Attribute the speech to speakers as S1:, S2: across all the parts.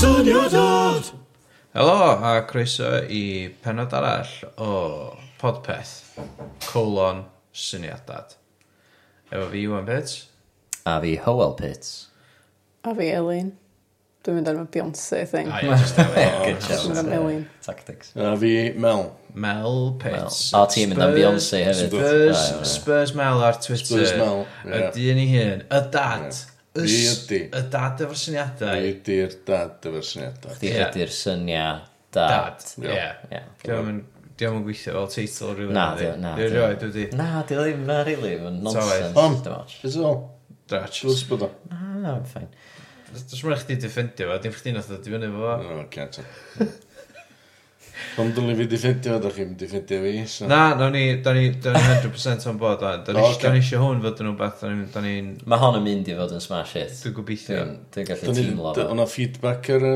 S1: Syniadad!
S2: Helo, a croeso i penod arall o Podpeth, colon, syniadad. Efo fi, Iwan Pits.
S3: A fi Howell Pits.
S1: A fi Elin. Dwi'n mynd ar y Beyoncé thing.
S2: A ie, jyst
S3: Good
S2: efo
S1: Dwi'n mynd am
S3: job.
S1: Elin.
S3: Tactics.
S4: A fi Mel.
S2: Mel Pits.
S3: Mel. Our team yn dan
S2: Spurs-
S3: Beyonce hefyd.
S2: Spurs,
S3: Ah, ie.
S2: Spurs Mel ar Twitter.
S4: Spurs Mel, ie.
S2: Y dyn i hun, y dad.
S4: Ie.
S2: Y s-
S4: Fi ydi.
S2: Y dad efo'r syniadau.
S4: Fi di'r dad efo'r syniadau.
S3: Chdi
S2: Ie.
S3: ydy'r syniad dad.
S2: Dad,
S4: Ie.
S2: ie.
S3: Ie.
S2: Diolch yn diolch yn gweithio fel teitl rhywun.
S3: Na, di o- na,
S2: Dwi'n
S3: di o-
S2: rhoi, dwi di.
S3: Na, di o ddim na, really. Mae'n nonsense.
S2: alright.
S4: Pam?
S3: Dim ots.
S4: Is all?
S2: Dratch.
S4: Dwi'n sbod o.
S3: Na, na, mae'n ffain.
S2: Dwi'n mwyn chdi defendio fo, dim chdi nath o difynnu fo.
S4: No, can't. Ond dwi'n fi diffendio, da chi'n diffendio fi. so-
S2: Na, nawn ni, da ni, da ni 100% on board o'n. Da ni
S4: O, ocê.
S2: da ni isio hwn fod yn rhywbeth, da ni, da ni,
S3: Mae hon yn mynd i fod yn smash hit.
S2: dwi'n gobeithio.
S3: Dwi'n dwi'n gallu
S4: Dyn ni-
S3: teimlo
S4: d-
S3: fo.
S4: O'na feedback ar y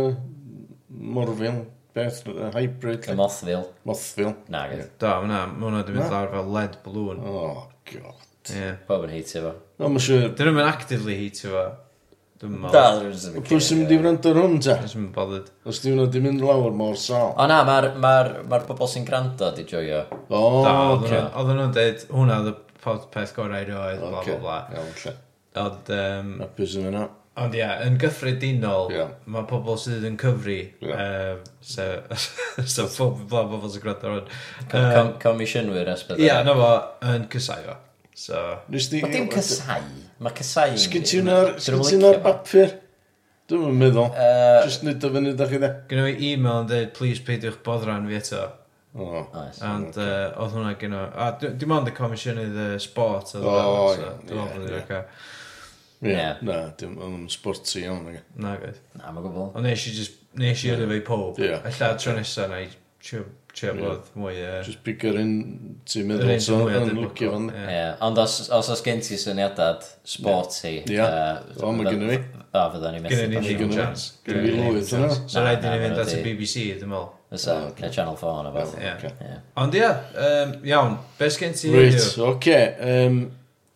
S4: Morfil. Beth, y hybrid.
S3: Y Mothville.
S4: Mothfil.
S3: Na, gyd.
S2: Do, ma hwnna, ma hwnna di mynd
S4: Na.
S2: lawr fel lead balloon.
S4: Oh, god.
S2: Ie.
S3: Bob yn heitio fo.
S4: O, ma siwr.
S2: Dyn nhw'n actively hitio fo. Dwi'n mynd.
S3: Da, dwi'n ddim yn
S4: Pwy sy'n mynd i
S3: cynnig.
S4: wrando ar hwn, ta?
S2: Dwi'n mynd bothered.
S4: Os di hwnna di mynd lawr mor sal.
S3: O na, mae'r ma ma pobl sy'n gwrando di joio.
S4: O,
S2: Da,
S4: oce.
S2: oedden nhw- oedden nhw'n dweud, hwnna oedd y pod- peth gorau roedd, bla
S4: Oce,
S2: bla bla.
S4: iawn, lle.
S2: Ond, yym,
S4: Hapus yn yna.
S2: ond ie, yn gyffredinol,
S4: Ie.
S2: mae pobl sydd yn cyfri,
S4: Ie.
S2: yym, so, so, pob- bla pobl sy'n gwrando ar hwn.
S3: Com-
S2: Yym,
S3: com- Comisiynwyr esbyd.
S2: Ie, na fo, yn cysau fo. So,
S4: Nes di...
S3: Mae dim cysau. Mae cysau...
S4: Sgyn ti hwnna'r sgyn ti hwnna'r bapur? Dwi'n yn meddwl. Just nid o fyny da chi dde.
S2: Gynno fi e-mail yn dweud, please peidiwch boddran fi eto.
S4: O,
S3: Oes.
S2: And uh, oedd hwnna gynno... A d- dim ond y comisiynydd y sport oedd
S4: O,
S2: hwnna, so
S4: ie,
S2: dwi'n meddwl bod
S4: ie,
S2: ni'n
S4: ie.
S2: oce.
S4: ie.
S3: Ie.
S4: Na, dim yn sporty iawn. nag e?
S2: Na gyd.
S3: Na, mae gwbl.
S2: Ond nes i just... Nes i yrru fe i pob.
S4: Ie.
S2: Alla tro nesa na i trio bod mwy... yy,
S4: Just bigger un ti'n
S2: yr
S4: meddwl
S2: un sy'n
S4: so
S2: mwy
S4: yn
S2: adnabod.
S4: lwcio fan.
S2: Ie.
S3: Ie, ond os, os oes gen ti syniadad sporty...
S4: Ie. O, ma' gynna fi.
S3: O, fydda ni methu.
S2: Gynno ni
S3: basio.
S2: ddim
S4: gynna-
S2: chans.
S4: gynna
S2: Gynno ni
S4: fi
S2: ddim
S4: lwyth yna.
S2: chance. So
S3: Na,
S2: rhaid i
S3: na,
S2: ni fynd
S3: na,
S2: at y
S3: di.
S2: BBC, dwi'n meddwl.
S3: Fysa, neu Channel 4 na fath.
S2: Ie.
S3: Ie.
S2: Ond ie, yym, iawn, beth sgen ti
S4: Reit,
S2: heddiw?
S4: oce. Yym,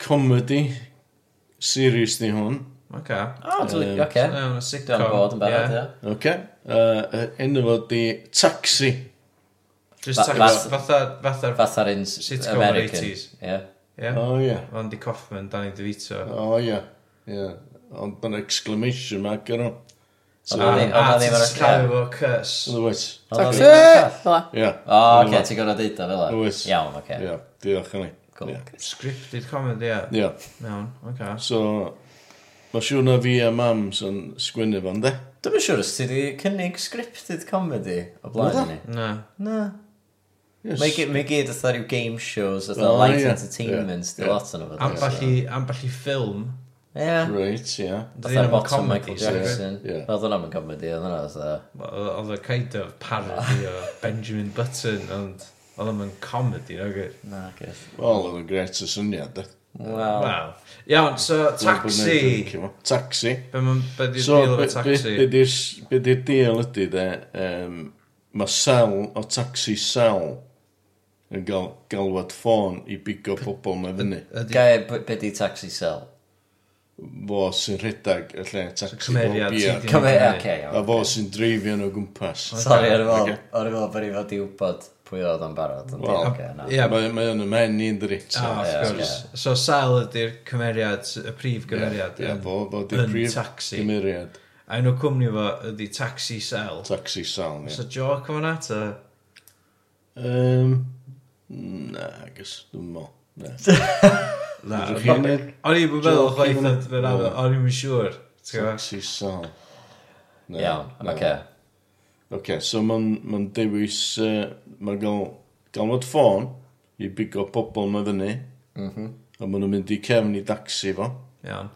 S4: Comedy. Serious ni hwn.
S2: Oce.
S3: O, dwi-
S4: Yym,
S3: oce.
S2: Iawn, y sitcom.
S3: Dwi'n bod yn barod,
S2: ie.
S3: ie.
S4: Oce. Yy, Enw fo di Taxi.
S2: Just
S3: Fa-
S2: tax-
S3: fath-
S2: fatha, fatha,
S3: Fatha'r un s-
S2: Sitcom o'r
S3: American.
S2: 80s.
S3: Ie.
S2: ie.
S4: O ie.
S2: Andy Kaufman, Danny DeVito.
S4: O ie. Ie. Ond yn exclamation mark ar hwn.
S3: Ond
S2: A
S3: oedd hi- ond
S2: a
S3: oedd hi
S2: ti'n
S3: efo'r-
S2: sgau
S3: ie.
S2: fo cys.
S4: Otherwise.
S3: Ond oedd hi efo'r-
S1: Fela.
S4: Ie.
S3: O, oce, ti'n gorau deud o fel e.
S4: Oes.
S3: Iawn, oce.
S4: Ie, diolch yn ei.
S3: Cool.
S2: Scripted comedy, ie.
S4: Ie.
S2: Iawn, oce.
S4: So, mae siwr na fi a mam sy'n sgwynnu fan, de?
S3: Dwi'n siŵr os ti wedi cynnig scripted comedy o blaen i ni.
S2: Na.
S3: Na.
S4: Yes.
S3: Mae gi- mae gyd oedd rhyw game shows, oedd
S4: O,
S3: light
S4: ie.
S3: entertainment,
S4: Ie.
S3: di lot yn o
S2: Amball i, amball i ffilm.
S3: Ie.
S4: Right, ie.
S2: Dyn
S3: Fatha'r
S2: nhw'n
S3: bottom
S2: comedy,
S3: Michael
S2: so-
S3: Jackson.
S4: Ie.
S3: Oedd hwnna'n mynd comedy, oedd hwnna fatha...
S2: Oedd oedd y kind of parody o Benjamin Button, ond oedd yma'n comedy, no good.
S3: Na, gyd.
S4: Wel, oedd yn gret y syniad, de.
S3: Wel,
S2: Wow. Iawn, so taxi.
S4: Dwi'n gwneud yn licio fo. Taxi.
S2: Be di'r
S4: So,
S2: deal efo
S4: be- be- be
S2: taxi?
S4: di'r- be di'r deal ydy, de? Um, mae sel o taxi sel yn gael galwad ffôn i bigo pobl mae fyny.
S2: Ydy
S3: Gae, b- be di taxi sell?
S4: Fo sy'n rhedag y lle taxi o
S2: cymeriad ti
S4: bia.
S2: di-
S3: Come here,
S2: Cymru.
S3: okay.
S4: A
S3: iawn.
S4: fo sy'n dreifio nhw gwmpas.
S3: Sorry, ar y fel,
S4: Ocê.
S3: ar y fel bod i fod i wybod pwy oedd o'n barod. Ond
S4: Wel,
S3: well, okay, na.
S2: Ie,
S4: Mae mae o'n y men i'n drit.
S2: Ah,
S3: Ie,
S2: of course. So sel ydy'r cymeriad, y prif gymeriad.
S4: Ie,
S2: yn-
S4: fo, fo
S2: yn
S4: di'r prif
S2: taxi.
S4: gymeriad.
S2: A enw cwmni fo ydy Taxi Cell.
S4: Taxi Sal,
S2: Oes
S4: ie.
S2: y joc o'n at o?
S4: Um, na, agos, dwi'n mo. Na.
S2: Na.
S4: Ydych
S2: O'n
S4: chi'n neud
S2: i'n meddwl
S4: joc
S2: chwaith
S4: yn-
S2: yn fyr am,
S4: Ie.
S2: o'n i'n siŵr. Ti'n gwbod?
S4: Taxi Sal. Na,
S3: Iawn,
S4: na.
S3: oce.
S4: Oce, so ma'n ma'n dewis, uh, ma'n gael galwad ffôn i bigo pobl mae fyny. A maen nhw'n mynd i cefn i daxi fo.
S2: Iawn.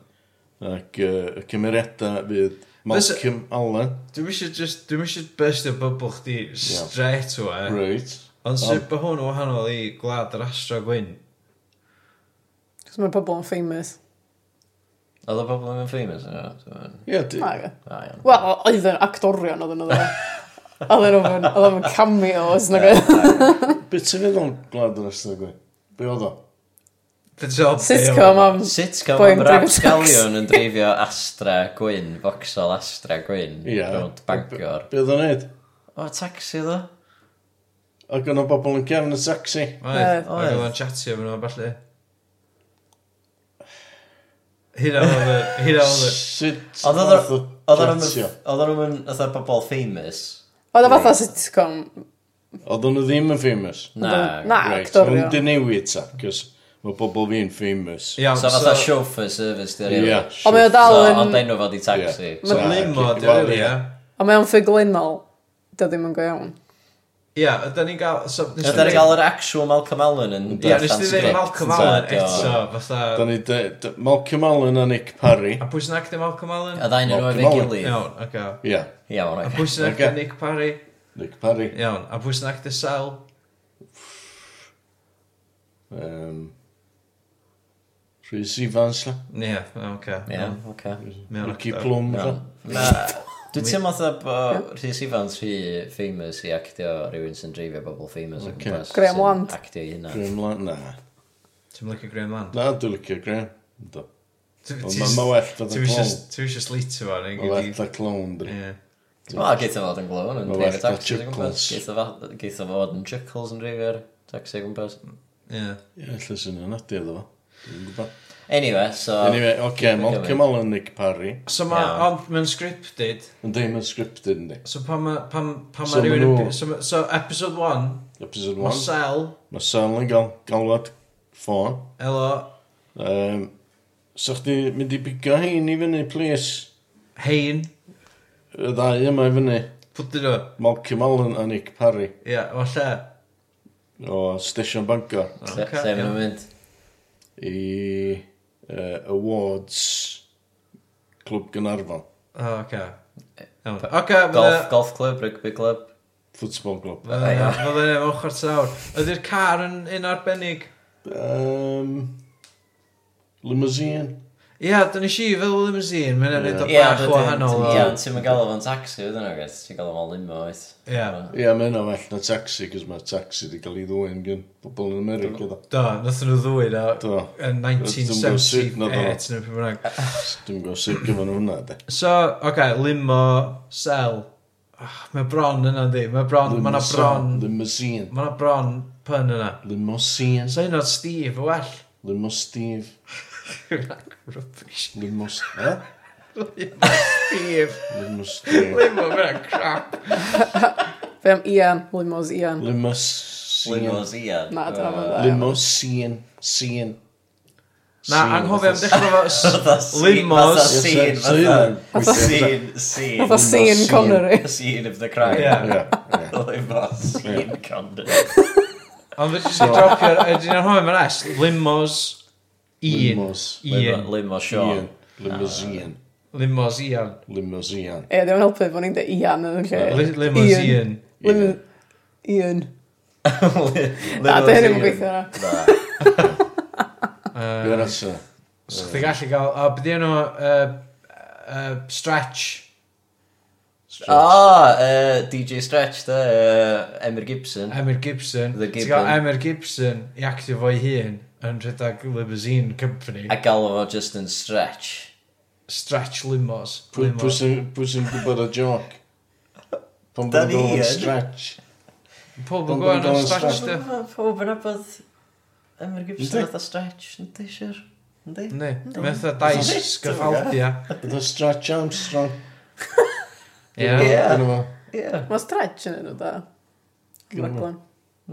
S4: Ac uh, y cymeriadau fydd
S2: Fysa-
S4: Malcolm Allen.
S2: Dwi'n mysio just, dwi'n mysio burst o bubble chdi straight o e.
S4: Right.
S2: Ond sut bod hwn yn wahanol i glad yr astro gwyn?
S1: Cos mae pobl yn famous.
S3: Oedd y bobl yn famous yn yna?
S4: Ie, di-
S1: Na, ie.
S3: Na, iawn.
S1: Wel, o- oedd yn actorion oedd yn oedd yn. Oedd yn oedd yn oedd yn cameos nag oedd.
S4: Be ti'n feddwl glad yr ystod gwe? Be oedd o?
S2: Be' ti'n meddwl?
S1: Sitcom am...
S3: Sut gael
S1: Boi'n
S3: am
S1: dreifio
S3: rap
S1: taxi.
S3: scalion yn dreifio Astra Gwyn, Foxol Astra Gwyn,
S4: Ia.
S3: rownd Bangor.
S4: Be oedd o'n neud?
S3: O, taxi ddo?
S4: Ac o'n bobl yn gefn y sexy.
S2: Oedd,
S1: Oedd.
S2: oedd o'n chatio efo nhw, falle. Hynna oedd y... Hynna oedd y...
S4: Sut
S3: Oedd
S4: fath o
S3: o'n
S4: chatio?
S3: Oedd o'n mynd, oedd o'n bobl famous?
S1: Oedd o fatha sitcom.
S4: Oedd o'n nhw ddim yn famous.
S1: Na,
S3: Na.
S1: na
S4: Reit,
S1: actorio.
S4: Ond dyn newid ta, cos mae bobl fi'n famous.
S2: Iawn,
S3: So fatha chauffeur service di rili.
S4: Ia,
S1: Ond mae o
S3: So,
S1: dal
S3: ond
S1: yn...
S3: enw fod i taxi.
S4: Ie. So,
S2: Limo,
S4: cic-
S2: di oedd, ia.
S1: Ond mae o'n ffuglinol. Dy ddim yn go iawn.
S2: Ia, ydyn ni'n gael... so- nes
S3: Ydyn
S2: di-
S3: ni'n gael yr actual Malcolm Allen yn...
S2: Ia, nes di ddeud Malcolm Allen eto,
S4: Da
S2: fatha...
S4: ni de- de- Malcolm Allen a Nick Parry.
S2: A pwy sy'n actio Malcolm Allen?
S3: Y ddain yn
S4: Malcolm
S3: oed e'n
S4: Allen.
S3: gilydd.
S2: Iawn, ac o.
S4: Ia,
S3: Iawn,
S2: A
S3: oce.
S2: pwy sy'n actio
S4: Ocê.
S2: Nick Parry?
S4: Nick Parry.
S2: Iawn, a pwy sy'n actio Sel?
S4: Um, Rhys Evans la.
S2: Ia, oce.
S3: Iawn, oce.
S2: Mewn
S4: Ricky
S2: actor.
S4: Plum la.
S3: Iawn. Na, Dwi'n teimlo fatha bo Rhys Ifans rhy famous i actio rhywun sy'n dreifio bobl famous o
S4: Ocê.
S3: gwmpas.
S1: Graham
S3: sy'n
S1: Lant.
S3: Actio i hynna.
S4: Graham Lant, na.
S2: Ti'n lycio Graham Land?
S4: Na, dwi'n licio Graham. Yndw.
S2: Ti-
S4: Ond
S2: ti-
S4: ma- ma well fod
S2: ti
S4: yn
S2: isio-
S4: clown.
S2: Ti eisiau slitio fo, neu
S4: Mae well
S2: gyd i...
S4: a clown, dwi.
S2: Ie.
S3: Wel, geitha fod yn glwn yn dreifio
S4: Ma' well na
S3: taxis o gwmpas.
S4: Chuckles.
S3: Geitha fa- Geitha fod yn chuckles yn dreifio'r taxi o gwmpas.
S2: Ie.
S4: Ie, lle sy'n yna, di oedd o. Dwi'n gwybod.
S3: Anyway, so...
S4: Anyway, oce, Malcolm Allen, Nick Parry.
S2: So ma,
S3: Iawn.
S2: ond mae'n scripted,
S4: Yn deud mae'n scripted, ynddi.
S2: so pan ma, pan, pan
S4: So
S2: ma
S4: ma'
S2: rhywun yn...
S4: nhw-
S2: So, ma- so episode 1,
S4: Episode
S2: ma
S4: 1.
S2: Sel,
S4: Mae Sal yn gael galwad ffôn.
S2: elo,
S4: Um, so chdi mynd i bigo hein i fyny, please.
S2: hein,
S4: Y ddau yma i fyny.
S2: pwydyn nhw.
S4: Malcolm Allen a Nick Parry
S2: Ie, o lle.
S4: o Station Bangor
S2: Ocê,
S3: Lle lle
S2: iawn.
S3: maen nhw'n mynd?
S4: i uh, Awards Clwb Gynarfon.
S2: O, oce. Iawn. Oce,
S3: Golf, golf club, rugby club.
S4: Football Club.
S2: Fydde
S3: Ie.
S2: fydde ni mewn chwarter awr. Ydy'r car yn un arbennig?
S4: Um, limousine.
S2: Ia, dyn ni si fel limousine, mae'n
S4: Ie.
S2: rhaid o
S3: Ie,
S2: bach
S3: dydyn-
S2: wahanol. o-
S3: Ie, ond ti'n mynd gael o'n taxi, ydyn nhw, gwaith. Ti'n gael o'n limo, oes.
S2: Ie.
S4: Ie, yeah, mae yna well na taxi, cos mae taxi wedi cael ei ddwy'n gen bobl yn America. Do.
S2: Do, nathon nhw ddwy na
S4: Do.
S2: yn
S4: Dwi'm yn gwbod sut nathon nhw.
S2: 1978 neu pryd bynnag.
S4: Dwi'n gwybod sut gyfan hwnna, de.
S2: So, oce, okay, limo, sel. Oh, mae bron yna di, mae bron, mae na bron,
S4: Limousine.
S2: mae na bron pun yna.
S4: Limousine.
S2: So hyn o'r Steve, y well.
S4: Limo Steve.
S2: Rubbish.
S4: Limo... Eh?
S2: Steve,
S4: Limo Steve.
S2: limo, mae'n crap.
S1: Fe am Ian, Limos Ian.
S4: Limousine.
S3: Limos, ie.
S1: Na, dyna ma'n dda.
S4: Limousine. Sien.
S2: Na, anghofio am dechrau fo, s- limos.
S4: Yes,
S3: Scene,
S4: sir,
S3: fatha.
S4: sir.
S3: Scene, scene.
S1: Fatha Sean
S4: Sean.
S1: Connery.
S3: Scene of the crime.
S2: Ie.
S4: Ie, ie.
S3: Limos, scene, Connery.
S2: Ond fe ti'n dropio, ydy'n anghofio am y rest, limos, un,
S4: Limos.
S2: un,
S3: Limo,
S4: Ian.
S3: Sean.
S4: Limousine.
S2: limos, ian.
S4: Limousine.
S1: Ie, ddim yn helpu bod ni'n dweud Ian yn y lle.
S2: Li- Limos, ian.
S1: Lim- Ian. Na,
S3: Na,
S1: dy hyn yn gweithio na.
S4: Be arall sy'n?
S2: So chdi gallu gael, o, byddi enw uh, uh, stretch. Ah.
S3: O, yy, DJ Stretch, da, yy, Emyr Gibson.
S2: Emyr Gibson.
S3: The
S2: Ti'n
S3: Gibbon.
S2: gael Emyr Gibson i actio fo'i hun yn rhedeg limousine company.
S3: A galw fo just yn Stretch.
S2: Stretch limos.
S4: Pwy pwy
S2: limos.
S4: sy'n pwy sy'n gwybod y joc? Pan
S3: Da
S4: bod yn gael
S3: ni
S4: yn
S3: yn.
S4: stretch.
S2: Pob yn
S4: Dwi'n
S2: gwaen
S4: gweld
S2: yn stretch
S4: stretch.
S2: dy.
S3: Pob yn abod Emyr
S4: Yndi.
S3: Gibson fatha Stretch, ynddi, siwr? Ynddi?
S2: Ne, metha dais sgyffaldia.
S4: Ydy stretch Armstrong.
S2: Ie.
S3: Ie.
S4: Dyna fo.
S3: Ie.
S1: Mae stretch yn enw da.
S4: Gyda fo.
S1: Raglan.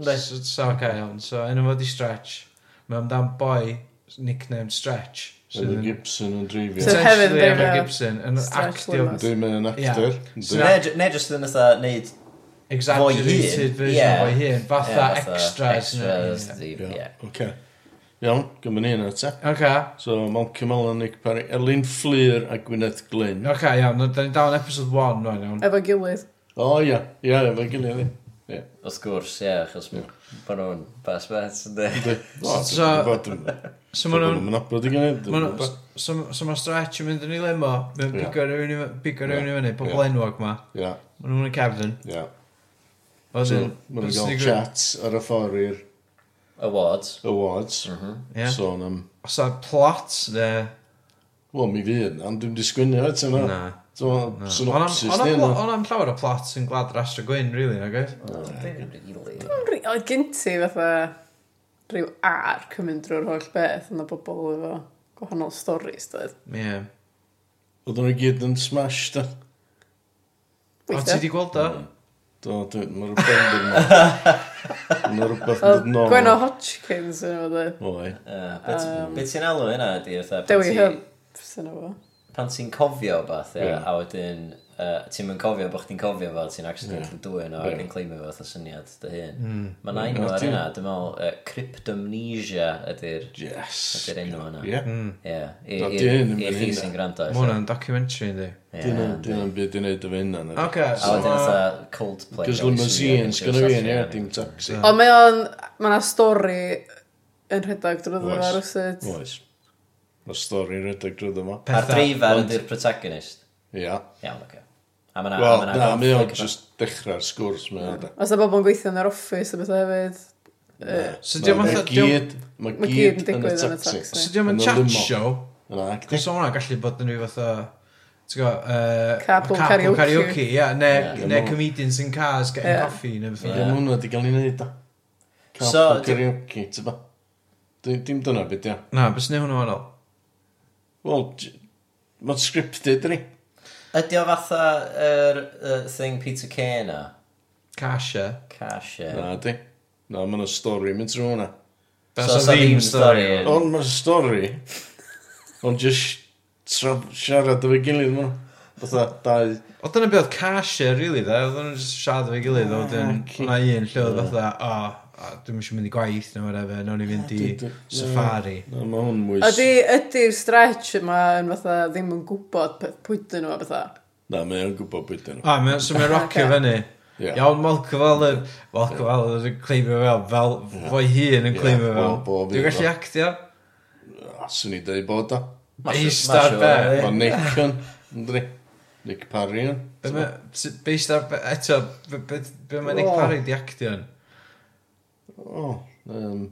S3: Ynddi.
S2: So, so, okay, iawn. So, enw fo di stretch. Mae amdan boi nicknamed stretch. sydd
S4: Ydy
S2: yn-
S4: Gibson yn dreifio.
S1: So- hefyd
S2: Potentially Emyr
S1: they're, uh,
S2: Gibson yn
S1: Stretch
S2: actio
S1: Limos.
S4: Dwi'n mynd yn actor.
S2: So
S4: Yndi.
S2: na-
S3: Ne, j- ne, just yn fatha neud
S2: exaggerated
S3: Fo'i hun,
S2: version
S3: ie.
S2: o'i hun. Fatha
S3: Ie,
S2: extras. neu-
S3: Extras,
S2: Ie.
S3: di,
S4: Ie,
S3: ie.
S4: Oce. Iawn, gymryd ni yna te.
S2: Oce.
S4: So, Malcolm Allen, Nick Parry, Elin Fflir a Gwyneth Glyn.
S2: Oce, iawn, no, da ni dal yn episode 1 rwan, iawn.
S1: Efo gilydd.
S4: O ia, ia, efo'i gilydd i. Ie.
S3: Wrth gwrs, ie, achos bod nhw'n best bet, ynddi.
S4: Yndi. O,
S2: So-
S4: dwi'n gwybod, dwi'n gwybod.
S2: So ma' nhw'n...
S4: Dwi'n nabod i gynnu.
S2: ma' nhw- So, so mae stretch yn mynd yn ei limo, mae'n
S4: Ie.
S2: bigo rhywun i fy- bigo
S4: Ie.
S2: rhywun i fyny, pobl
S4: Ie.
S2: enwog ma.
S4: Ia,
S2: Mae nhw'n y cefn.
S4: ia.
S2: Oedden,
S4: Mae'n gael chats ar y ffordd i'r
S3: Awards.
S4: awards
S2: Mhm. Ie.
S4: sôn am
S2: Os a plot, ne...
S4: Wel, mi fydd na, ond dwi'n disgwynnu o eto na.
S2: Na.
S4: Dwi'n synopsis ni na.
S2: Ond am llawer o plot sy'n glad rastra gwyn, really, na gais?
S4: Oh,
S3: Really?
S1: Oedd gen ti fatha rhyw ar cymryd drwy'r holl beth yna bobl efo gwahanol storis, dweud.
S2: Ie.
S4: Oedden nhw gyd yn smash da.
S2: O, ti di gweld o?
S4: Do, dwi'n, mae'n rhywbeth yn dod nôl. Mae'n rhywbeth yn dod nôl.
S1: Gwenno Hodgkins yn efo, dweud.
S4: Oi. Um,
S3: Beth ti'n alw hynna ydy, fatha... pan
S1: Dewi
S3: ti-
S1: Hubs yn efo.
S3: Pan ti'n cofio beth, ia,
S4: Ie.
S3: a wedyn... Uh, ti'n mynd cofio bod chdi'n cofio fo, ti'n accidentally dwy'n o ac
S4: Ie.
S3: yn claimio fath o syniad dy hun.
S4: Mm.
S3: Mae na enw ar hynna, dwi'n meddwl, uh, cryptomnesia ydy'r
S4: Yes.
S3: ydy'r enw hynna.
S4: Ie.
S3: Ie, i-
S4: Na,
S3: i-
S4: di hyn yn
S3: i
S4: mynd
S3: chi
S4: hynna.
S3: sy'n gwrando.
S2: Mae hwnna'n documentary, ynddi.
S3: Ie.
S4: Dyn nhw'n byd i wneud efo hynna. na.
S2: Oce,
S3: A wedyn
S2: so- uh,
S3: fatha Coldplay. gael
S4: Cos
S3: eu
S4: limousines,
S3: swingio
S4: gynnu fi
S3: gyda'r
S4: yn ie,
S3: Satriani.
S4: dim taxi.
S1: Ond mae o'n, mae yna stori yn rhedeg drwy
S4: Oes.
S1: ddefa rwysyd.
S4: Oes. Mae stori'n rhedeg drwy yma.
S3: A'r
S2: Pethau,
S3: dreifar
S4: ond-
S3: ydy'r protagonist.
S4: Ia.
S3: Iawn, oce. A ma'na...
S4: Wel, na, mi o'n just dechrau'r sgwrs mae o'n da.
S1: Os yna bobl yn gweithio yn yr office a bethau hefyd.
S2: So diom
S4: Mae
S2: fatha-
S4: gyd, mae
S1: Ma' gyd
S4: gyd
S1: yn
S4: yn y
S1: digwydd yn y
S4: taxi.
S1: taxi.
S2: So diolch yn
S4: Yn y
S2: chat
S4: limo.
S2: show,
S4: Na,
S2: cos o hwnna'n gallu bod yn rhyw fatha... Ti'n gwybod, uh,
S1: Carpool karaoke.
S2: karaoke, ia,
S4: Ie.
S2: neu neu comedians in cars getting
S1: Ie.
S2: coffee, neu beth
S4: Ie, mae hwnna wedi cael ei wneud da.
S3: So,
S4: Cael
S3: di-
S4: karaoke, ti ba? Di- Dim dyna beth, ia.
S2: Na, bys ni hwnnw wahanol.
S4: Wel, j- mae'n scripted, ni.
S3: Ydy o fatha yr er, thing Peter Kay na?
S2: Cash, ie.
S3: Cash, ie.
S4: Na, di. Na, mae'n stori mynd trwy hwnna.
S2: That's
S3: So
S2: a
S3: it's a
S2: theme
S3: theme story.
S2: story.
S3: O,
S4: Ond mae'n stori, ond jyst tra- siarad efo gilydd ma. Fytha, dau...
S2: O dyna beth oedd cash e, really, dda. Oedd nhw'n just siarad efo'i gilydd, oedd yn hwnna un lle oedd fatha, o, o, dwi'n eisiau mynd i gwaith neu whatever, nawn ni fynd i
S4: Dwi- dwi-
S2: safari.
S4: Na, mae hwn mwy... s-
S1: Ydy, ydy'r stretch yma yn fatha ddim yn gwybod peth pwydyn nhw a bethau.
S4: Na, mae o'n gwybod beth yna.
S2: A, mae- so mae'n rocio
S1: Ocê.
S2: fyny.
S4: Ie.
S2: Iawn, Malcolm Allen, Malcolm Allen yn cleimio fel, fel fo'i hun yn
S4: Ie,
S2: cleimio
S4: bob-
S2: fel.
S4: bob un,
S2: Dwi'n gallu
S4: do.
S2: actio?
S4: A, Swn i dweud bod da.
S3: Massive-
S2: Eistedd
S3: massive,
S2: be?
S4: Mae Nick yn, ynddi. Nick Parry yn.
S2: Be ma- s- Based ar, be- eto, be- be- be mae Nick
S4: Wel.
S2: Parry di actio yn?
S4: O, yym...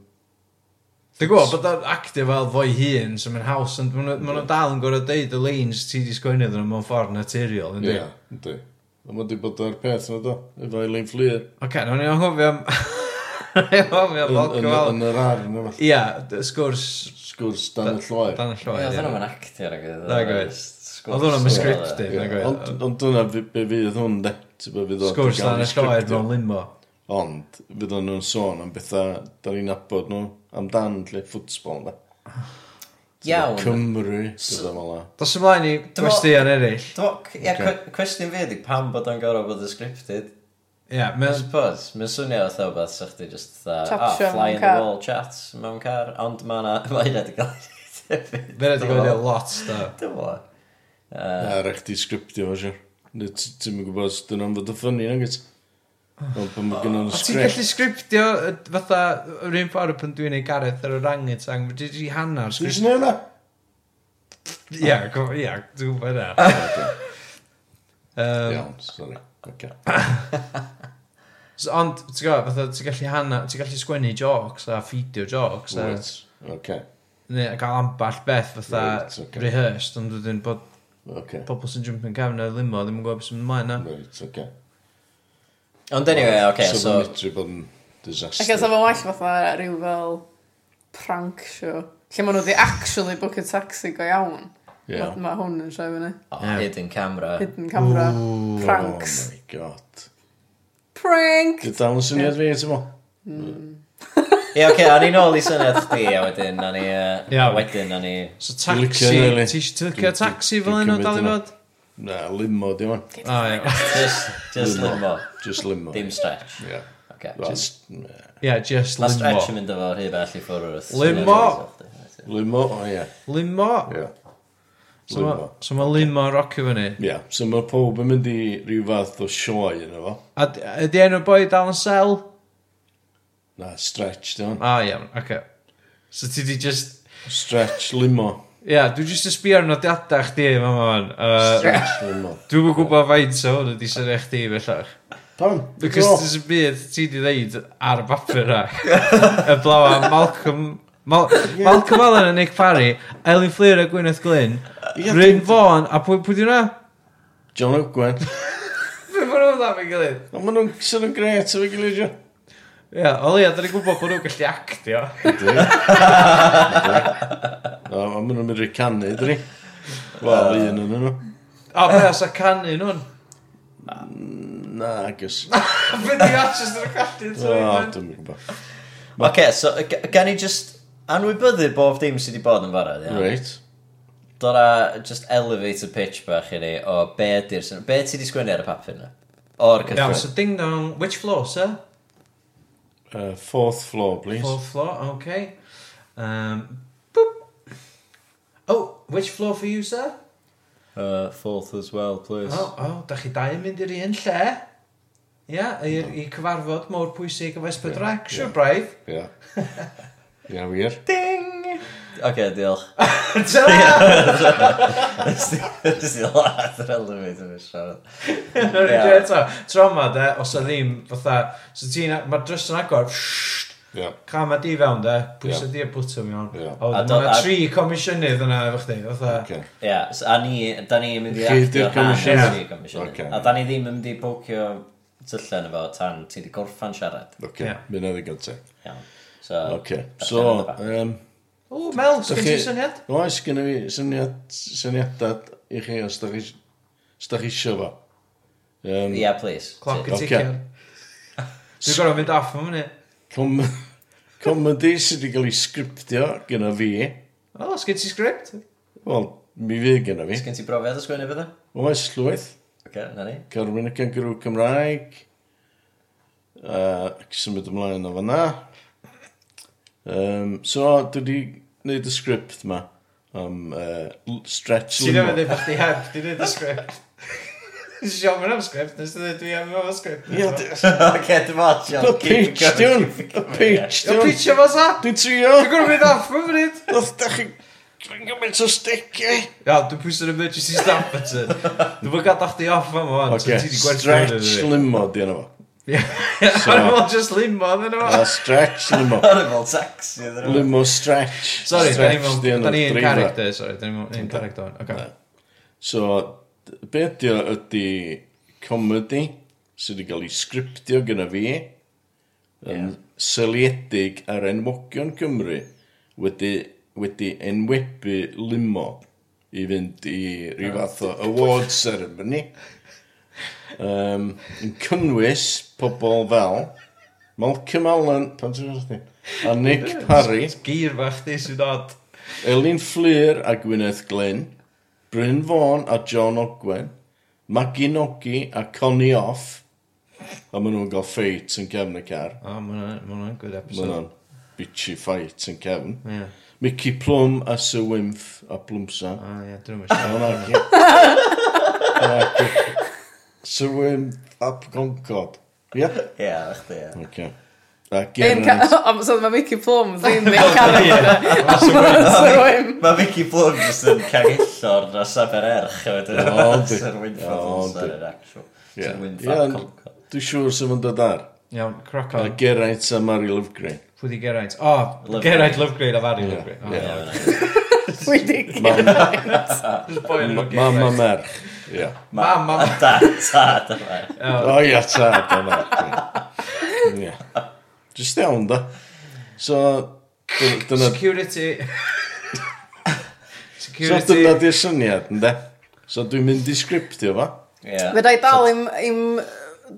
S2: Dwi'n gwybod bod o'n actio fel fo'i hun, so mae'n haws, ond maen nhw- maen nhw dal yn gorfod deud y leins ti di sgwennu iddyn nhw mewn ffordd naturiol, yndi?
S4: Ie, ynddi. Ond mae wedi bod o'r peth yna do, efo Eileen Fleer.
S2: Oce, okay, ni'n anghofio am... Ni'n anghofio am
S4: Yn- Yn
S2: alcohol.
S4: yn yr arn yma.
S2: Ia, dy- sgwrs
S4: Sgwrs dan y lloer.
S2: dan y
S3: Ie,
S2: lloed.
S3: Oedd
S2: ia.
S3: hwnnw yn actor ac oedd
S2: Na, gwir. Oedd hwnnw yn scripted.
S4: Ie,
S2: nag oedd?
S4: Ond ond dyna fi- be fydd hwn de. Ti be fydd o-
S2: Sgwrs
S4: gael
S2: dan y lloed
S4: scripted.
S2: mewn limo.
S4: Ond fydd o'n nhw'n sôn am bethau da ni'n abod nhw amdan lle ffwtsbol de.
S3: Iawn.
S4: Cymru, bydda fel la.
S2: Dos ymlaen i
S3: Dyma-
S2: gwestiwn eraill.
S3: Dwi'n
S4: Ocê.
S3: meddwl, cwestiwn fi ydi pam bod o'n gorau bod yn scripted.
S2: Ia,
S3: I
S2: mae'n...
S3: suppose, mae'n swnio oedd o beth sa'ch di just
S1: Chat
S3: fatha,
S1: show
S3: oh, fly
S1: mewn
S3: in the
S1: car."
S3: wall chats mewn car, ond mae'na, mae'n edrych gael ei wneud.
S2: Fe'n edrych oedd e lot, da.
S3: Dwi'n meddwl.
S4: A rech di sgriptio fo siwr. Nid ti'n mynd gwybod os dyn nhw'n fod y ffynnu na gyd. Ond pan mae gen nhw'n
S2: O, ti'n
S4: sgript.
S2: gallu sgriptio y- fatha yr un ffordd pan dwi'n ei gareth ar yr anghytang, fe di hannar
S4: Dwi'n
S2: sgript.
S4: sy'n ei wneud
S2: Ia, go- ia, dwi'n gwybod e. na.
S4: Ah.
S2: Yym,
S4: Iawn, sori. Oce.
S2: s- Ond, ti'n gwybod, fatha, ti'n gallu hannar, ti'n gallu sgwennu jocs a ffidio jocs a...
S4: Wyt. Oce.
S2: neu gael amball beth fatha
S4: Reit, ocê.
S2: rehearsed ond wedyn bod
S4: Oce.
S2: pobl sy'n jumping cefn ar limo ddim yn gwybod beth sy'n mynd ymlaen na
S4: Reit, oce.
S3: Ond anyway, oce,
S4: So
S3: so...
S4: mae'n medru bod yn
S1: Ac as
S4: disaster.
S1: efo well fatha rhyw fel prank show. Lle maen nhw wedi actually book a taxi go iawn.
S4: Ie.
S1: Ma- Mae hwn yn siarad fyny.
S3: Oh, hidden camera.
S1: Hidden camera.
S4: Oh
S1: Pranks.
S4: my god.
S1: Prank!
S4: Dwi'n dal yn syniad fi, ti'n mo?
S3: Ie, oce, a ni nôl i syniad chdi, a wedyn, a ni, uh,
S2: Iawn.
S3: wedyn, a ni...
S2: so
S4: Dwi'n
S2: taxi
S4: licio hynna, Eli.
S2: ti eisiau tylcio
S4: Dwi'n-
S2: taxi
S4: dwi'n
S2: fel un o
S4: cymryd
S2: dal i
S4: hynna.
S2: fod
S4: Na, limo, di man.
S2: o ie
S3: Just, just
S4: Limo.
S3: limo.
S4: Just limo.
S3: Dim stretch.
S4: Ie.
S3: Oce,
S4: Wel,
S3: just...
S4: s- ie.
S2: Ie, just
S3: Mae stretch yn
S2: limo
S3: mynd efo rhy bell i ffwrdd wrth.
S2: Limo!
S4: Limo, o ie.
S2: limo
S4: Ie.
S2: Oh. So ma-
S4: Limo.
S2: so mae limo yn rocio fyny
S4: Ie, so mae pob yn mynd i rhyw fath o sioe yna fo.
S2: a d- ydi enw boi dal yn sel
S4: Na, stretch, di man.
S2: a Ah, iawn oce so ti di just
S4: Stretch limo.
S2: Ie, dwi jyst yn sbio ar nodiadau chdi, mam o'n.
S4: Stretch limo.
S2: Dwi'n gwybod faint o hwn ydi syniad chdi, bellach.
S4: Pam?
S2: Because
S4: Go.
S2: there's a byd ti di ddeud ar y bapur na. y blawa Malcolm... Mal Malcolm Allen a Nick Parry, Elin Fleer a Gwyneth Glyn,
S4: Ie,
S2: Ryn Fawn, a pwy pwy di hwnna?
S4: John Ogwen.
S2: Pwy maen nhw'n dda fi'n gilydd?
S4: A maen nhw'n sy'n gret efo'i gilydd jo.
S2: Ie, o leia, da ni'n gwybod bod nhw'n gallu actio.
S4: Ydy. A maen nhw'n mynd i canu, dri.
S2: Ah.
S4: Wel, un yn nhw.
S2: A be os a canu nhw'n?
S4: Na, agos.
S2: A be di artist yn y gallu
S4: O, dwi'n gwybod.
S3: Oce, so y- g- gan i just anwybyddu bob dim sydd wedi bod yn barod, ia?
S4: Reit.
S3: Dora, just elevator pitch bach i ni o be ydy'r sy'n... Be ti di sgwennu ar y papur na? O'r
S2: Iawn,
S3: cyffredin.
S2: so ding dong, which floor, sir?
S4: Uh, fourth floor, please.
S2: Fourth floor, okay. Um, boop. Oh, which floor for you, sir?
S3: Uh, fourth as well, please.
S2: O, o, da Oh, chi dau yn mynd i'r un lle? Ia, i'r i cyfarfod mor pwysig efo Esbydrec, siwr braidd.
S4: Ia. Ia, wir.
S3: Ding! Oce, diolch.
S2: Ta-ra!
S3: Ysdi ladd yr elevator pitch siarad.
S2: Nawr i
S3: Ie.
S2: dweud eto, tro yma de, os a ddim, fatha, so ti'n, mae'r drws yn agor, pshht,
S4: Ia.
S2: Cam a di fewn de, pwysa
S4: Ie.
S2: di y bwtwm iawn.
S4: Ie.
S2: O,
S3: A do-
S2: dyna
S3: a-
S2: tri comisiynydd yna efo chdi, fatha.
S4: Oce.
S3: Ia, s- a ni, da ni'n mynd i
S4: Chi di'r
S3: Chi
S4: comisiwn?
S3: di'r
S4: Ocê.
S3: comisiwn. A da ni ddim yn mynd i pocio tyllen efo tan ti di gorffan siarad.
S4: Oce.
S2: Ia.
S4: Mynd oedd i gynta.
S3: Iawn. So,
S4: Oce.
S3: That's
S4: So,
S3: another back.
S4: um,
S2: O, Mel,
S4: Dach
S2: sgyn
S4: chi-
S2: ti syniad?
S4: oes gen i fi syniad, syniadad i chi os da chi os dach chi isio fo. Um,
S3: ia, please.
S2: Cloc
S3: Ti-
S2: y
S4: Ocê.
S2: ticio'n. Dwi'n gorau mynd off am hynny.
S4: com comedy sydd wedi cael ei sgriptio gyda fi.
S2: O, sgyn ti sgript?
S4: Wel, mi fydd gyda fi.
S3: Sgyn ti brofiad o sgwennu bydda?
S4: Oes llwyth,
S3: Oce, na ni.
S4: Carwyn y Cangarw Cymraeg, uh, ac symud ymlaen o fanna. Um, so, dwi wedi gwneud y sgript ma am uh, stretch
S2: Ti'n ddim yn
S4: limo.
S2: dweud bod chdi heb, ti'n dweud y sgript. Ti'n siom yn am sgript, nes ti'n dweud dwi am efo sgript.
S4: Ie, d-
S3: Oce, dim ond, John.
S4: Y pitch, diwn! Y pitch,
S2: Yo,
S4: diwn!
S2: pitch efo sa!
S4: Dwi'n trio!
S2: Dwi'n gwrdd mynd off yn fynyd!
S4: Doedd da chi... Dwi'n gymaint o steciau!
S2: Ia, dwi'n pwysau'r emergency staff button. Dwi'n bod gadael chdi off am o'n, so
S4: Oce,
S2: ti di gwerth
S4: stretch limo di yna fo.
S2: Ar ôl just limo, dyn nhw.
S4: A stretch limo.
S3: Horrible taxi. iddyn nhw.
S4: Limo stretch.
S2: Sorry, da ni
S4: Stretch
S2: mewn,
S4: di enw
S2: da ni yn
S4: driver.
S2: character, sorry, da ni mewn- yn character. Oce.
S4: So, d- be ydi o ydi comedy sydd wedi cael ei sgriptio gyda fi yn seliedig ar enwogion Cymru wedi, wedi enwebu limo i fynd i rhyw fath o award ceremony um, yn cynnwys pobl fel Malcolm Allen pan ti'n gwybod chdi? a Nick Parry
S2: Geir fach di sy'n od.
S4: Elin Fflir a Gwyneth Glyn, Bryn Fawn a John Ogwen, Maggie Nogi a Connie Off, a maen nhw'n gael ffeit yn cefn y car.
S2: O, ma' hwnna'n good
S4: Maen
S2: episode.
S4: nhw'n bitchy fight yn cefn.
S2: Ie.
S4: Mickey Plum a Sir Wymff a Plumsa.
S2: O, ie, dwi'n mynd.
S4: Hwnna Sir Wymff a Concord. Ie?
S3: Ie, o'ch di, ie.
S4: Oce. A
S1: Un
S4: Geraint.
S1: ca- o, so mae Mickey Plum ddim yn cael ei bod
S3: Mae Vicky Plum jyst yn cagillor na safer erch. a wedyn-
S4: O, yndi.
S3: Sir Winfield
S4: O,
S3: Olsen
S4: yndi.
S3: yn actual.
S4: Ie.
S3: Sir
S4: Ie,
S3: Winfield Concord.
S4: Dwi'n siŵr sy'n fynd o dar.
S2: Iawn, croc
S4: A
S2: on.
S4: Geraint a Mary Lovegreen.
S2: Pwy di Geraint? O,
S3: Lovegreen.
S2: Geraint Lovegreen a Fari Lovegreen. O,
S4: Ie.
S1: wedi
S2: Boi nhw Geraint.
S4: Mam a merch. Ie.
S2: Mam, mam.
S3: A da, da, da, da.
S4: O ia, ta, dyna. Ie. Just iawn, da. So, dy- dyna...
S2: Security.
S4: So
S2: Security.
S4: dyna di'r syniad, ynddo? So dwi'n mynd i sgriptio fo.
S3: Ie.
S1: Fe rai dal im, im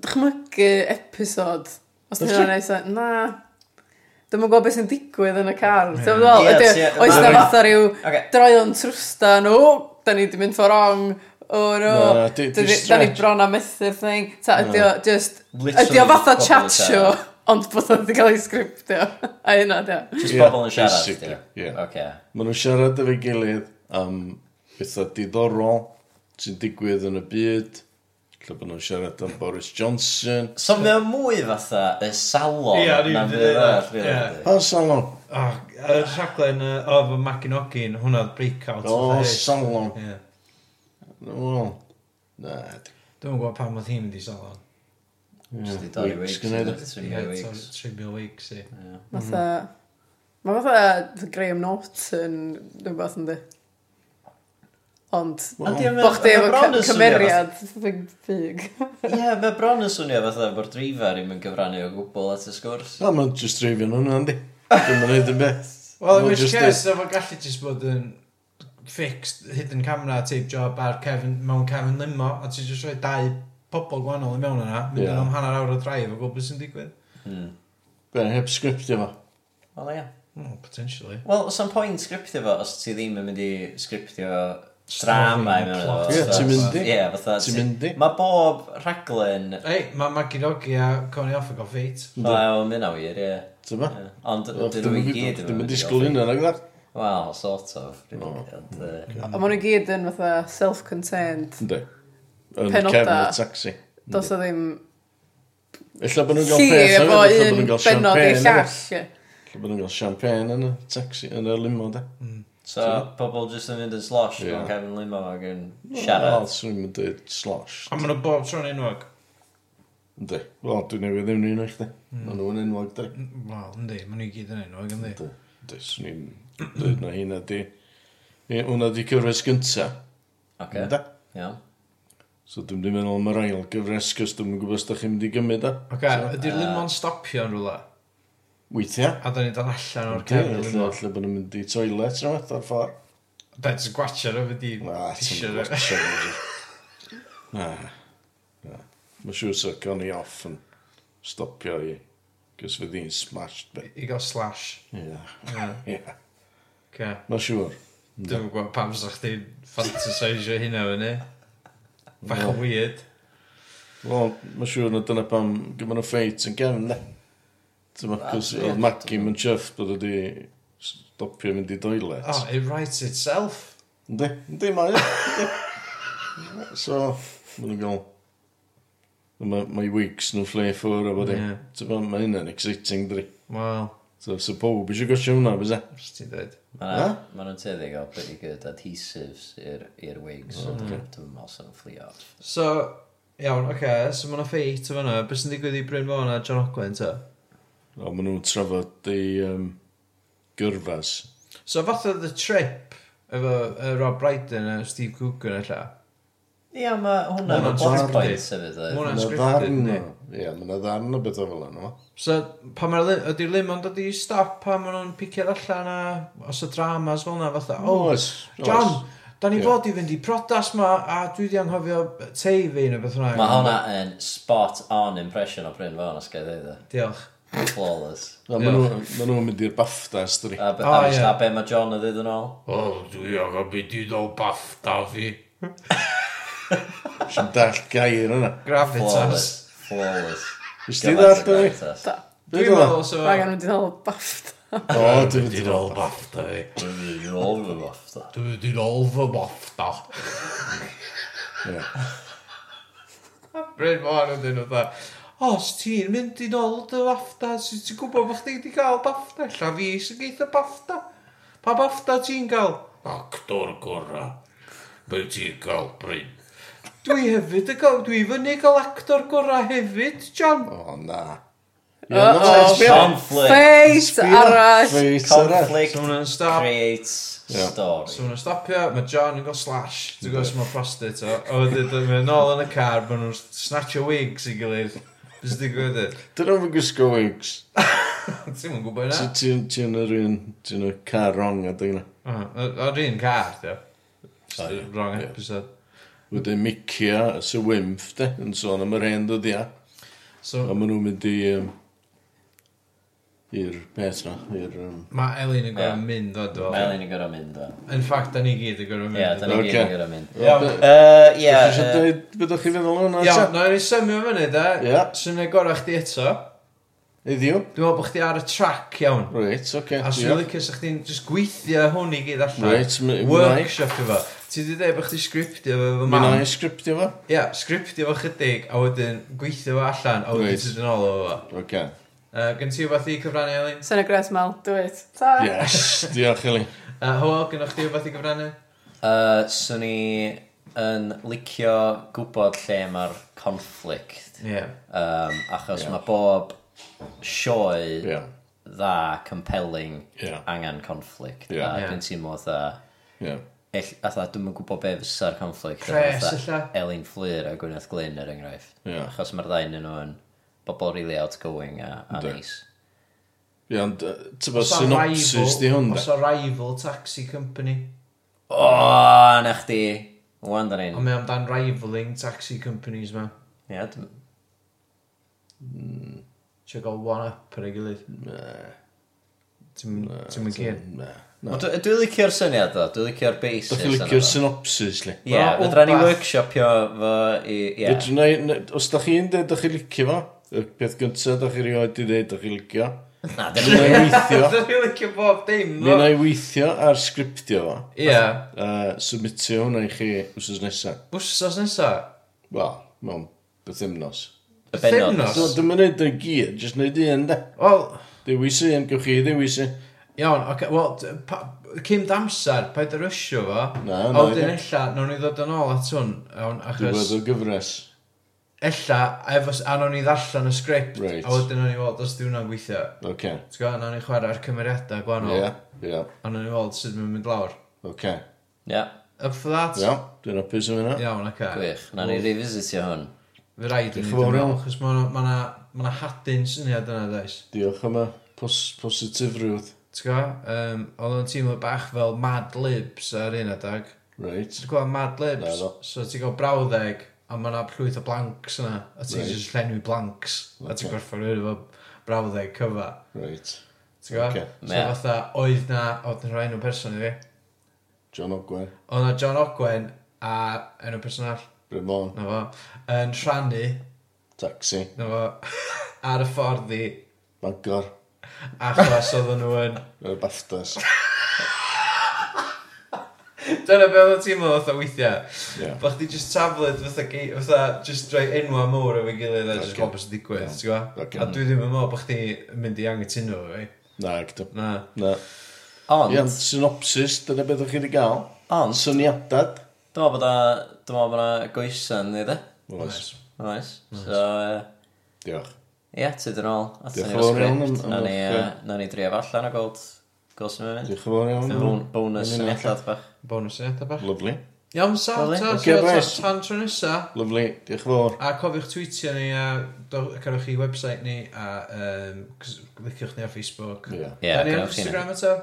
S1: dychmygu episod. Os ti'n rhan eisa, na. Dwi'n mwyn gwybod beth sy'n digwydd yn y car.
S3: Ie,
S1: Ti'n mwyn gwybod,
S3: ti-
S1: ydy- oes
S3: ma-
S1: na fatha rhyw
S3: Oce.
S1: droion trwsta nhw, da ni di mynd ffordd rong, o no,
S4: Na,
S1: da
S4: di- di
S1: ni
S4: stretch.
S1: bron am methu'r thing. Ta, ydy o, just,
S3: Literally
S1: ydy o fatha
S3: pobl
S1: chat
S3: yn
S1: show,
S3: siarad.
S1: ond bod o'n wedi cael ei sgriptio. A hynna, dio.
S3: Just
S4: Ie,
S3: pobl yn siarad,
S4: basically,
S3: ie.
S4: ie.
S3: Oce.
S4: Maen nhw'n siarad efo'i gilydd am bethau diddorol sy'n digwydd yn y byd. Lle bod nhw'n siarad am Boris Johnson.
S3: So mae o'n mwy fatha y salon
S2: Ie, o'n i'n
S3: na
S2: mynd i
S3: fydd
S2: ddeud
S3: arall,
S2: hynna.
S3: rili,
S2: Ie.
S3: yndi.
S4: O, salon.
S2: O, Oh, y rhaglen uh, yy, o fy Macinogin, hwnna oedd breakout.
S4: O,
S3: Oh,
S2: fatha hyn.
S4: salon.
S2: Ie.
S4: Wel, na.
S2: Dwi'n gwybod pam oedd hi'n mynd i salon.
S3: Just i dorri
S4: weeks
S3: weeks.
S4: gonna
S3: yn
S4: do.
S3: y
S2: Ie,
S3: three weeks.
S2: so Trivial Weeks, i.
S3: Ie.
S1: Fatha... Mae fatha Graham Norton, dwi'n beth yn di. Ond...
S3: Ond ie,
S1: Bo chdi
S3: ma'
S1: efo
S3: bron
S1: cy-
S3: yn swnio
S1: cymeriad ffig- ffug.
S3: fatha- Ie, mae bron yn swnio fatha bod drifa ddim yn gyfrannu o gwbl at y sgwrs.
S4: Na, mae'n just dreifio'n hwnna, yndi. Dwi'n mynd i'n beth.
S2: Wel,
S4: Wel,
S2: yn which
S4: just
S2: case, efo gallu jyst bod yn fixed hidden camera tape job ar Kevin, mewn Kevin Limo, a ti'n jyst rhoi dau pobl gwahanol i mewn yna, mynd
S4: Ie.
S2: yn am hanner awr o drive o gwybod sy'n digwydd.
S4: Be, heb sgriptio fo.
S3: Wel, ie.
S2: Hmm, potentially.
S3: Wel, os am pwynt sgriptio fo, os ti ddim yn mynd i sgriptio
S2: Story,
S3: drama i mewn iddo
S2: plot.
S3: fo.
S4: Ie,
S3: so-
S4: ti'n mynd i.
S3: Ie, fatha...
S4: Ti'n
S3: ti-
S4: mynd i.
S3: Mae bob raglen...
S2: Ei, mae Maggie Doggy a Coney Offa gael ffeit.
S3: O, Wel, mynd na wir, ie.
S4: Dyma.
S3: Ie. Ond dyn nhw i gyd
S4: Dwi'n mynd i
S3: i
S4: sgwyl hynna, nag ydw?
S3: offi. Wel, sort of. Dwi'n mynd i- ond, yy,
S1: A maen nhw gyd yn fatha self-contained.
S4: Ynddi. Yn
S1: Penoda.
S4: cefn y taxi.
S1: Dos o ddim
S4: Ella bod nhw'n
S1: lli
S4: cael peth
S1: efo
S4: hefyd, ella bod
S1: un benod i
S4: nhw'n cael champagne. hefyd.
S1: llall. ie.
S4: Ella bod nhw'n cael champagne yn y taxi, yn y limo, da.
S3: Mm. So, pobl jyst yn mynd yn slosh,
S4: Ie.
S3: yeah. yn cefn limo ac yn
S4: Wel,
S3: siarad.
S4: swn i'n mynd i slosh.
S2: A maen nhw bob tro'n enwog.
S4: Ynddi. Wel, dwi'n newid ddim nhw'n eich, da.
S3: Mm.
S4: Mae nhw'n enwog, da.
S2: Wel, yndi, maen nhw i gyd yn enwog, yndi.
S4: Ynddi. Ynddi, swn i'n dweud na hynna di. Ie, hwnna di cyfres gynta.
S3: Oce,
S4: Ynddi.
S3: iawn.
S4: So dwi'n mynd i meddwl mae'r ail gyfres, cos dwi'n gwybod os da chi'n mynd i gymryd o.
S2: Ok, ydy'r limo'n stopio yn rhywle?
S4: Weithiau.
S2: A da ni'n dod allan o'r
S4: Dwi'n
S2: cefn y limo.
S4: meddwl bod nhw'n mynd i toilet rhywbeth o'r ffordd.
S2: Da ti'n gwachio rhywbeth di
S4: Na,
S2: tisio
S4: ti'n
S2: rhywbeth.
S4: gwachio. Na. na. Mae siŵr sy'n gan i off yn stopio i. Cys fydd hi'n smashed be.
S2: I gael slash.
S4: Ia.
S2: Ie,
S4: Ia.
S2: Oce.
S4: Mae siŵr.
S2: Dwi'n gwybod pam sa chdi fantasisio hynna fyny. Bach yn weird.
S4: Wel, mae siŵr na dyna pam gymryd y ffeit yn gefn, ne? Dyma, cys oedd Maggie yn chyff bod wedi stopio mynd i doilet.
S2: Oh, it writes itself.
S4: Yndi, yndi mae o. Yndi. So, mae'n gael... Mae mae wigs nhw'n ffle ffwr a bod e.
S2: Ie.
S4: Dyma, mae hynna'n exciting, dri.
S2: Wel,
S4: So, so pob eisiau gosio hwnna, bysa?
S2: beth ti'n dweud?
S4: Na?
S3: Mae nhw'n teddig o pretty good adhesives i'r i'r wigs.
S4: Mm.
S3: so Dwi'n meddwl sy'n fflio.
S2: So, iawn, oce, okay, so mae'na ffeit o fyna. Beth sy'n digwydd i Bryn Fawn a John Ogwen, ta?
S4: O, maen nhw'n trafod ei um, gyrfas.
S2: So, fath The Trip, efo uh, Rob Brydon a Steve Coogan, ella.
S3: Ie, mae hwnna
S2: Hwnna'n
S3: yn plot
S2: scripted.
S3: point sefyd.
S2: Ma' hwnna'n-
S3: oedd.
S4: Mae'n
S2: scripted,
S4: ddarn o...
S2: yndi?
S4: Ie, mae'n ddarn o beth o fel yna.
S2: So, pan mae'r lim, ydy'r lim ond ydy stop pan maen nhw'n picio'r allan a os y dramas fel yna fatha, oh,
S4: Mm. Oes.
S2: John, da ni
S4: Ie.
S2: fod i fynd i prodas ma a dwi di anghofio tei fi neu beth hwnna.
S3: Mae hwnna yn spot on impression o Bryn Fawn, os gael ddeud e.
S2: Diolch.
S3: Flawless.
S4: Maen nhw'n mynd i'r baftas, dri.
S3: A, be-
S2: O, Ah,
S3: a,
S2: ie.
S3: a be mae John yn ddeud yn ôl?
S2: O, dwi ag o byd i ddol bafta fi.
S4: Si'n dall gair yna.
S2: Gravitas.
S3: Flawless. Flawless.
S4: Ys ti ddall, dwi?
S3: Gravitas.
S1: Da.
S4: Dwi'n
S2: Dwi'n meddwl, so...
S1: Mae gen i wedi dal bafta.
S4: O, dwi'n mynd i'r ôl.
S2: bafta fi.
S3: Dwi'n ôl fy bofta.
S2: Dwi di ddol fy bafta.
S4: Ie.
S2: Bryn mor yn dyn nhw dda. Os ti'n mynd i ddol dy bafta, sy'n ti'n gwybod bod chdi wedi cael bafta? Lla fi sy'n geitha bafta. Pa bafta ti'n cael? Actor gora. Be ti'n cael, Bryn? Dwi hefyd yn cael, dwi fyny cael actor gora hefyd, John.
S4: O, na.
S1: Uh-oh.
S3: Conflict.
S1: Feit Oh, arall.
S4: Ffeit arall.
S3: Conflict
S2: So ma' nhw'n stop.
S3: creates
S4: Ie.
S2: So
S3: story.
S2: maen nhw'n stopio, mae John yn cael slash, dwi'n gwybod sy'n ma'n prostit o, a wedyn dwi'n mynd nôl yn y car, maen nhw'n snatcho wigs i gilydd. Bys dwi'n gwybod ydy?
S4: Dyn nhw'n gwisgo wigs.
S2: Ti'n mwyn gwybod
S4: Ti-
S2: yna?
S4: Ti'n ti'n yr un... Ti'n y car rong a dyna.
S2: O'r un car, dio. Wrong episode.
S4: Wedyn Mickey a Sir Wimf, de, yn sôn am yr hen dod ia.
S2: So
S4: A maen nhw'n mynd i... Um, i'r peth na, i'r... Um,
S2: mae Elin yn gorau
S3: Ie.
S2: mynd o do.
S3: Mae Elin yn gorau mynd o.
S2: In fact, da ni gyd yn gorau mynd.
S3: Ie, da ni
S4: Ocê.
S3: gyd yn gorau mynd.
S2: Iawn,
S3: Yy, Ie,
S4: Ie.
S3: yy,
S4: dweud beth o'ch chi feddwl o'n
S2: iawn,
S4: hwnna?
S2: na ni symud fyny da.
S4: Ie.
S2: Swn i'n gorau chdi eto.
S4: Iddiw?
S2: Dwi'n meddwl bod chdi ar y track iawn.
S4: Reit, oce.
S2: A swn i'n licio sa chdi'n just gweithio hwn i gyd allan.
S4: Reit, mi- mi wna i.
S2: Workshop efo. Ti wedi dweud bod chdi sgriptio efo fy
S4: Mi
S2: mam.
S4: na i sgriptio fo?
S2: Ia, sgriptio fo chydig a wedyn gweithio fo allan a wedyn
S4: Reit.
S2: sydd yn ôl o fo.
S4: Oce.
S2: Uh, Gen ti wbeth i cyfrannu, Elin?
S1: Sy'n y gres mal, do it. Ta.
S4: Yes, diolch Eli.
S2: Uh, Hwyl, gynnwch chi wbeth i gyfrannu?
S3: Yy, swn i yn licio gwybod lle mae'r conflict
S2: Ie.
S3: um, achos yeah. mae bob sioe
S4: Ie.
S3: dda, compelling,
S4: Ie.
S3: angen conflict
S4: Ie.
S3: a
S2: Ie.
S3: dwi'n teimlo dda
S4: Ie.
S3: Alla, dwi'n yn gwybod be fysa'r conflict
S2: Pres,
S3: fatha
S2: ella.
S3: Elin Fflyr a Gwyneth Glyn er enghraifft
S4: Ie.
S3: achos mae'r ddau yn nhw yn bobl really outgoing a, a
S4: Yndi.
S3: nice
S4: Ie, ond yy, t'bo'
S2: Os a
S4: synopsis
S2: rival-
S4: di hwn, de?
S2: Os o rival taxi company.
S3: O, na chdi Wan da
S2: A
S3: ni'n
S2: mae amdan rivaling taxi companies ma.
S3: Ie, dwi'n-
S2: Ti'n gael one up ar ei gilydd. Ti'n mynd gyn.
S4: Na.
S3: Ond dwi- Dwi'n licio'r syniad o, dwi'n licio'r basis
S4: Dwi'n licio'r synopsis, li.
S3: Ie,
S2: Ma'
S3: fydra ni
S2: wbath-
S3: workshopio fo i... Ie,
S4: Fedrwn ni- ne- Os da chi'n dweud da chi licio fo, y peth gyntaf da chi rioed i dweud da chi licio,
S3: na,
S4: ni
S3: dwi'n...
S4: na i weithio,
S2: Dwi'n licio bob dim,
S4: ni na
S2: ddo.
S4: i weithio ar sgriptio fo,
S2: Ie.
S4: a submitio hwnna i chi wrth nesaf.
S2: Wsos nesa.
S4: Wel, mewn bythymnos.
S3: Y benod.
S2: Themnos.
S4: So, dwi'n mynd i ddweud gyd, jyst wneud un, de.
S2: Wel,
S4: Dewis un, gewch chi ddewis un.
S2: Iawn, oce, okay, wel, d- pa- cyn damser, paid y rysio fo.
S4: Na,
S2: A
S4: na,
S2: wedyn
S4: ie.
S2: ella, nawn ni ddod yn ôl at hwn, iawn, achos
S4: Diwedd o gyfres.
S2: ella, efo, s- a nawn ni ddarllen y sgript,
S4: Reit.
S2: a wedyn nawn ni weld os diwna gweithio.
S4: Oce.
S2: T'w gwybod, nawn ni chwarae'r cymeriadau gwahanol,
S4: Ie, ie,
S2: a nawn ni weld sut mae'n mynd lawr.
S4: oce.
S3: Ie,
S2: Up for that?
S4: Iawn, dwi'n hapus am hynna.
S2: Iawn, oce.
S3: gwych. Na ni revisitio hwn.
S2: Fy rhaid i ni
S4: Diolch yn fawr
S2: ddim
S4: iawn.
S2: iawn, achos mae yna hadyn syniad yna, dweud.
S4: Diolch am y pos- positifrwydd.
S2: T'w gwybod, um, oedd o'n teimlo bach fel Mad Libs ar un adag.
S4: Reit.
S2: Ti'n gweld Mad
S4: Na,
S2: Libs,
S4: do.
S2: so ti'n gweld brawddeg, a mae yna plwyth o blanks yna, a ti'n
S4: Reit.
S2: just llenwi blanks, a ti'n
S4: Ocê.
S2: gorffa'r rhywun efo brawddeg cyfa.
S4: Reit.
S2: Ti'n gweld?
S4: Ocê.
S2: So
S3: Ie.
S2: fatha, oedd na, oedd yn rhaid nhw person i fi,
S4: John Ogwen.
S2: oedd na John Ogwen a enw person all,
S4: Brymon.
S2: na fo, yn rhannu,
S4: Taxi.
S2: na fo, ar y ffordd i,
S4: Bangor.
S2: achos oedden nhw yn...
S4: Yr Baftas.
S2: Dyna be oedd o'n teimlo fatha weithiau.
S4: Ie.
S2: Bo chdi just tablet fatha, gei- fatha just rhoi enwa mowr efo'i gilydd a just
S4: Ocê.
S2: gweld beth sy'n digwydd, ti'n gwybod?
S4: Ocê.
S2: A dwi ddim yn meddwl bod chdi yn mynd i angytuno efo fi.
S4: Na, gdw.
S2: Na.
S4: Na.
S3: Ond,
S4: Iawn, synopsis, dyna beth o'ch chi wedi gael.
S3: Ond-
S4: Syniadad.
S3: dyma bod a- dyma bod yna goesan i dde.
S4: Oes.
S3: Oes. So, yy,
S4: Diolch.
S3: ie, tyd yn ôl. Atyn
S4: Diolch
S3: ni'r
S4: yn fawr iawn
S3: sgript.
S4: am- am
S3: Na ni,
S4: y-
S3: yy, na ni dref allan o gold. Gold sy'n mynd.
S4: Diolch yn fawr iawn.
S3: Fy bon- Bonus
S4: Yn
S3: yn
S4: union.
S3: ethaf bach.
S2: Bonus i eto bach.
S4: Lovely.
S2: Iawn, sa,
S3: Lovely.
S2: ta,
S4: Ocê,
S2: ta, ta,
S4: boys.
S2: tan tro nesa.
S4: Lovely. Diolch yn fawr.
S2: A cofiwch tweetio ni a do- cerwch chi website ni a um, liciwch ni ar Facebook.
S4: Ie.
S2: Da
S3: Ie,
S2: ni ar
S3: gwnewch chi hynna.
S2: Instagram eto.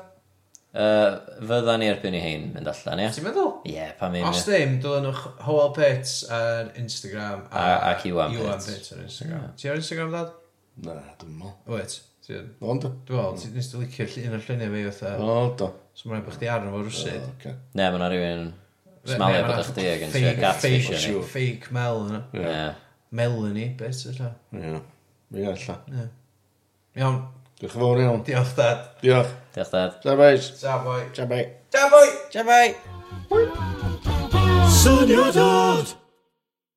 S3: Yy, Fydda ni erbyn i hyn mynd allan, ie?
S2: Ti'n meddwl?
S3: Ie, pa mi
S2: Os ddim, dylen nhw Howell Pits ar Instagram
S3: A- ac Iwan Pits.
S2: Pits ar Instagram. Ti ar Instagram, dad?
S4: Na, dwi'n mo.
S2: Wyt. Ti'n
S4: Ond?
S2: Dwi'n meddwl, ti nes ti licio ll- un o'r lluniau fi fatha,
S4: O, do.
S2: so mae'n bych di arno fo rwsyd.
S4: Oce.
S3: Ne, mae yna rhywun smalio bod eich dig yn siarad
S2: Fake-
S3: gatfisio ni.
S2: Fake, fake mel yna.
S4: Ie.
S3: Ie.
S2: Melanie, beth yna.
S4: Ie. Ie, alla.
S2: Iawn,
S4: Diolch yn fawr iawn.
S2: diolch dad.
S4: Diolch.
S3: Diolch dad.
S4: Ta bais.
S2: Ta boi.
S4: Ta bais.
S2: Ta boi!
S4: Ta bais.
S5: Syniadad!